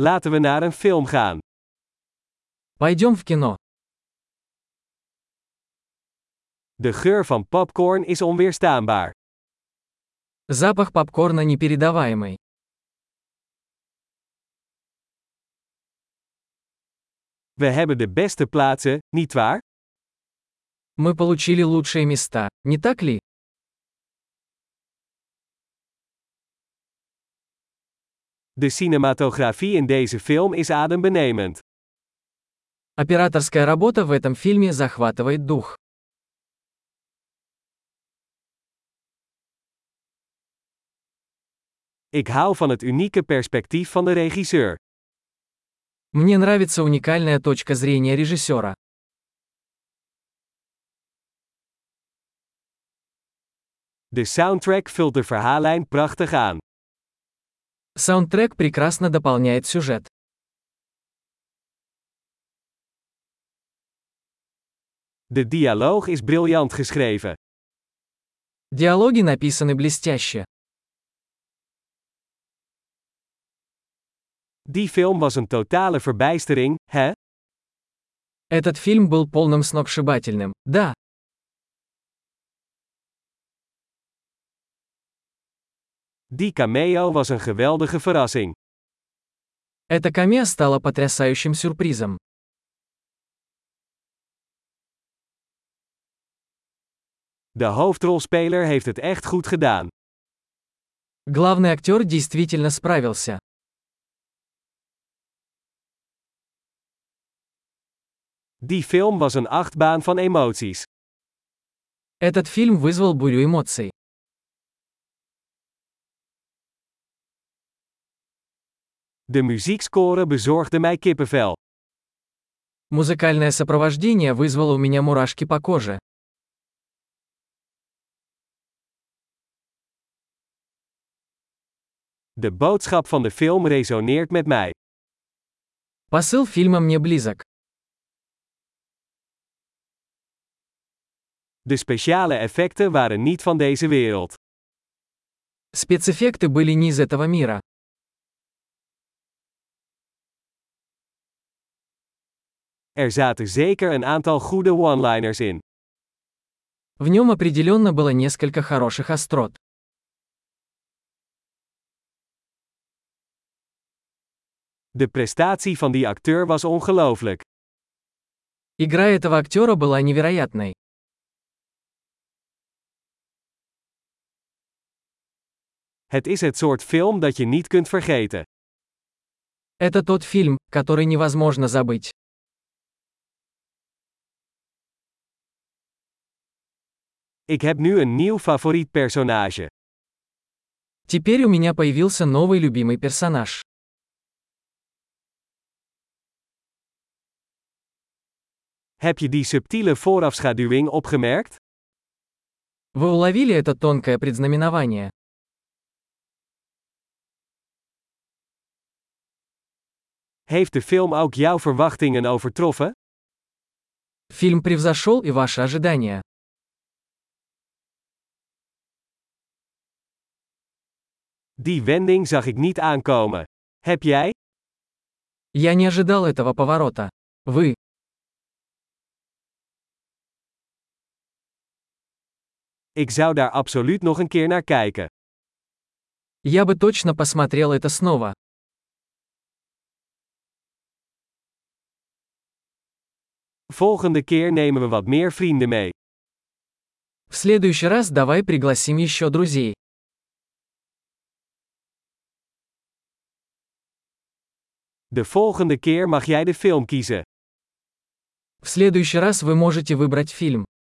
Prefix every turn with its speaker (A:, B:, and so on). A: Laten we naar een film gaan.
B: Пойдем в кино.
A: De geur van popcorn is onweerstaanbaar.
B: Запах попкорна непередаваемый.
A: We hebben de beste plaatsen, nietwaar?
B: Мы получили лучшие места, не так ли?
A: De cinematografie in deze film is adembenemend.
B: Операторская работа в этом фильме захватывает дух.
A: Ik hou van het unieke perspectief van de regisseur.
B: Мне нравится уникальная точка зрения режиссера.
A: De soundtrack vult de verhaallijn prachtig aan.
B: Саундтрек прекрасно дополняет сюжет.
A: De dialoog is briljant geschreven.
B: Диалоги написаны блестяще.
A: Die film was een totale verbijstering, hè?
B: Этот фильм был полным сногсшибательным. Да,
A: Die cameo was een geweldige verrassing.
B: это камео стало потрясающим сюрпризом.
A: De hoofdrolspeler heeft het echt goed gedaan.
B: Главный актер действительно справился.
A: Die film was een achtbaan van emoties.
B: Этот фильм вызвал бурю эмоций.
A: De muziekscore bezorgde mij kippenvel.
B: Музыкальное сопровождение вызвало у меня мурашки по коже.
A: De boodschap van de film resoneert met mij.
B: Посыл фильма мне близок.
A: De speciale effecten waren niet van deze wereld.
B: Спецэффекты были не из этого мира.
A: Er zaten zeker een aantal goede one-liners in.
B: В нем определенно было несколько хороших острот.
A: De prestatie van die acteur was ongelooflijk.
B: Игра этого актера была невероятной.
A: Het is het soort film dat je niet kunt vergeten.
B: Это тот фильм, который невозможно забыть.
A: Ik heb nu een nieuw favoriet personage.
B: Теперь у меня появился новый любимый персонаж.
A: Heb je die subtiele voorafschaduwing opgemerkt?
B: Вы уловили это тонкое предзнаменование.
A: Heeft de film ook jouw verwachtingen overtroffen?
B: Фильм превзошел и ваши ожидания.
A: Die wending zag ik niet aankomen. Heb jij?
B: Я не ожидал этого поворота. Вы.
A: Ik zou daar absoluut nog een keer naar kijken.
B: Я бы точно посмотрел это снова.
A: Volgende keer nemen we wat meer vrienden mee.
B: В следующий раз давай пригласим еще друзей.
A: De volgende keer mag jij de film kiezen.
B: В следующий раз вы можете выбрать фильм.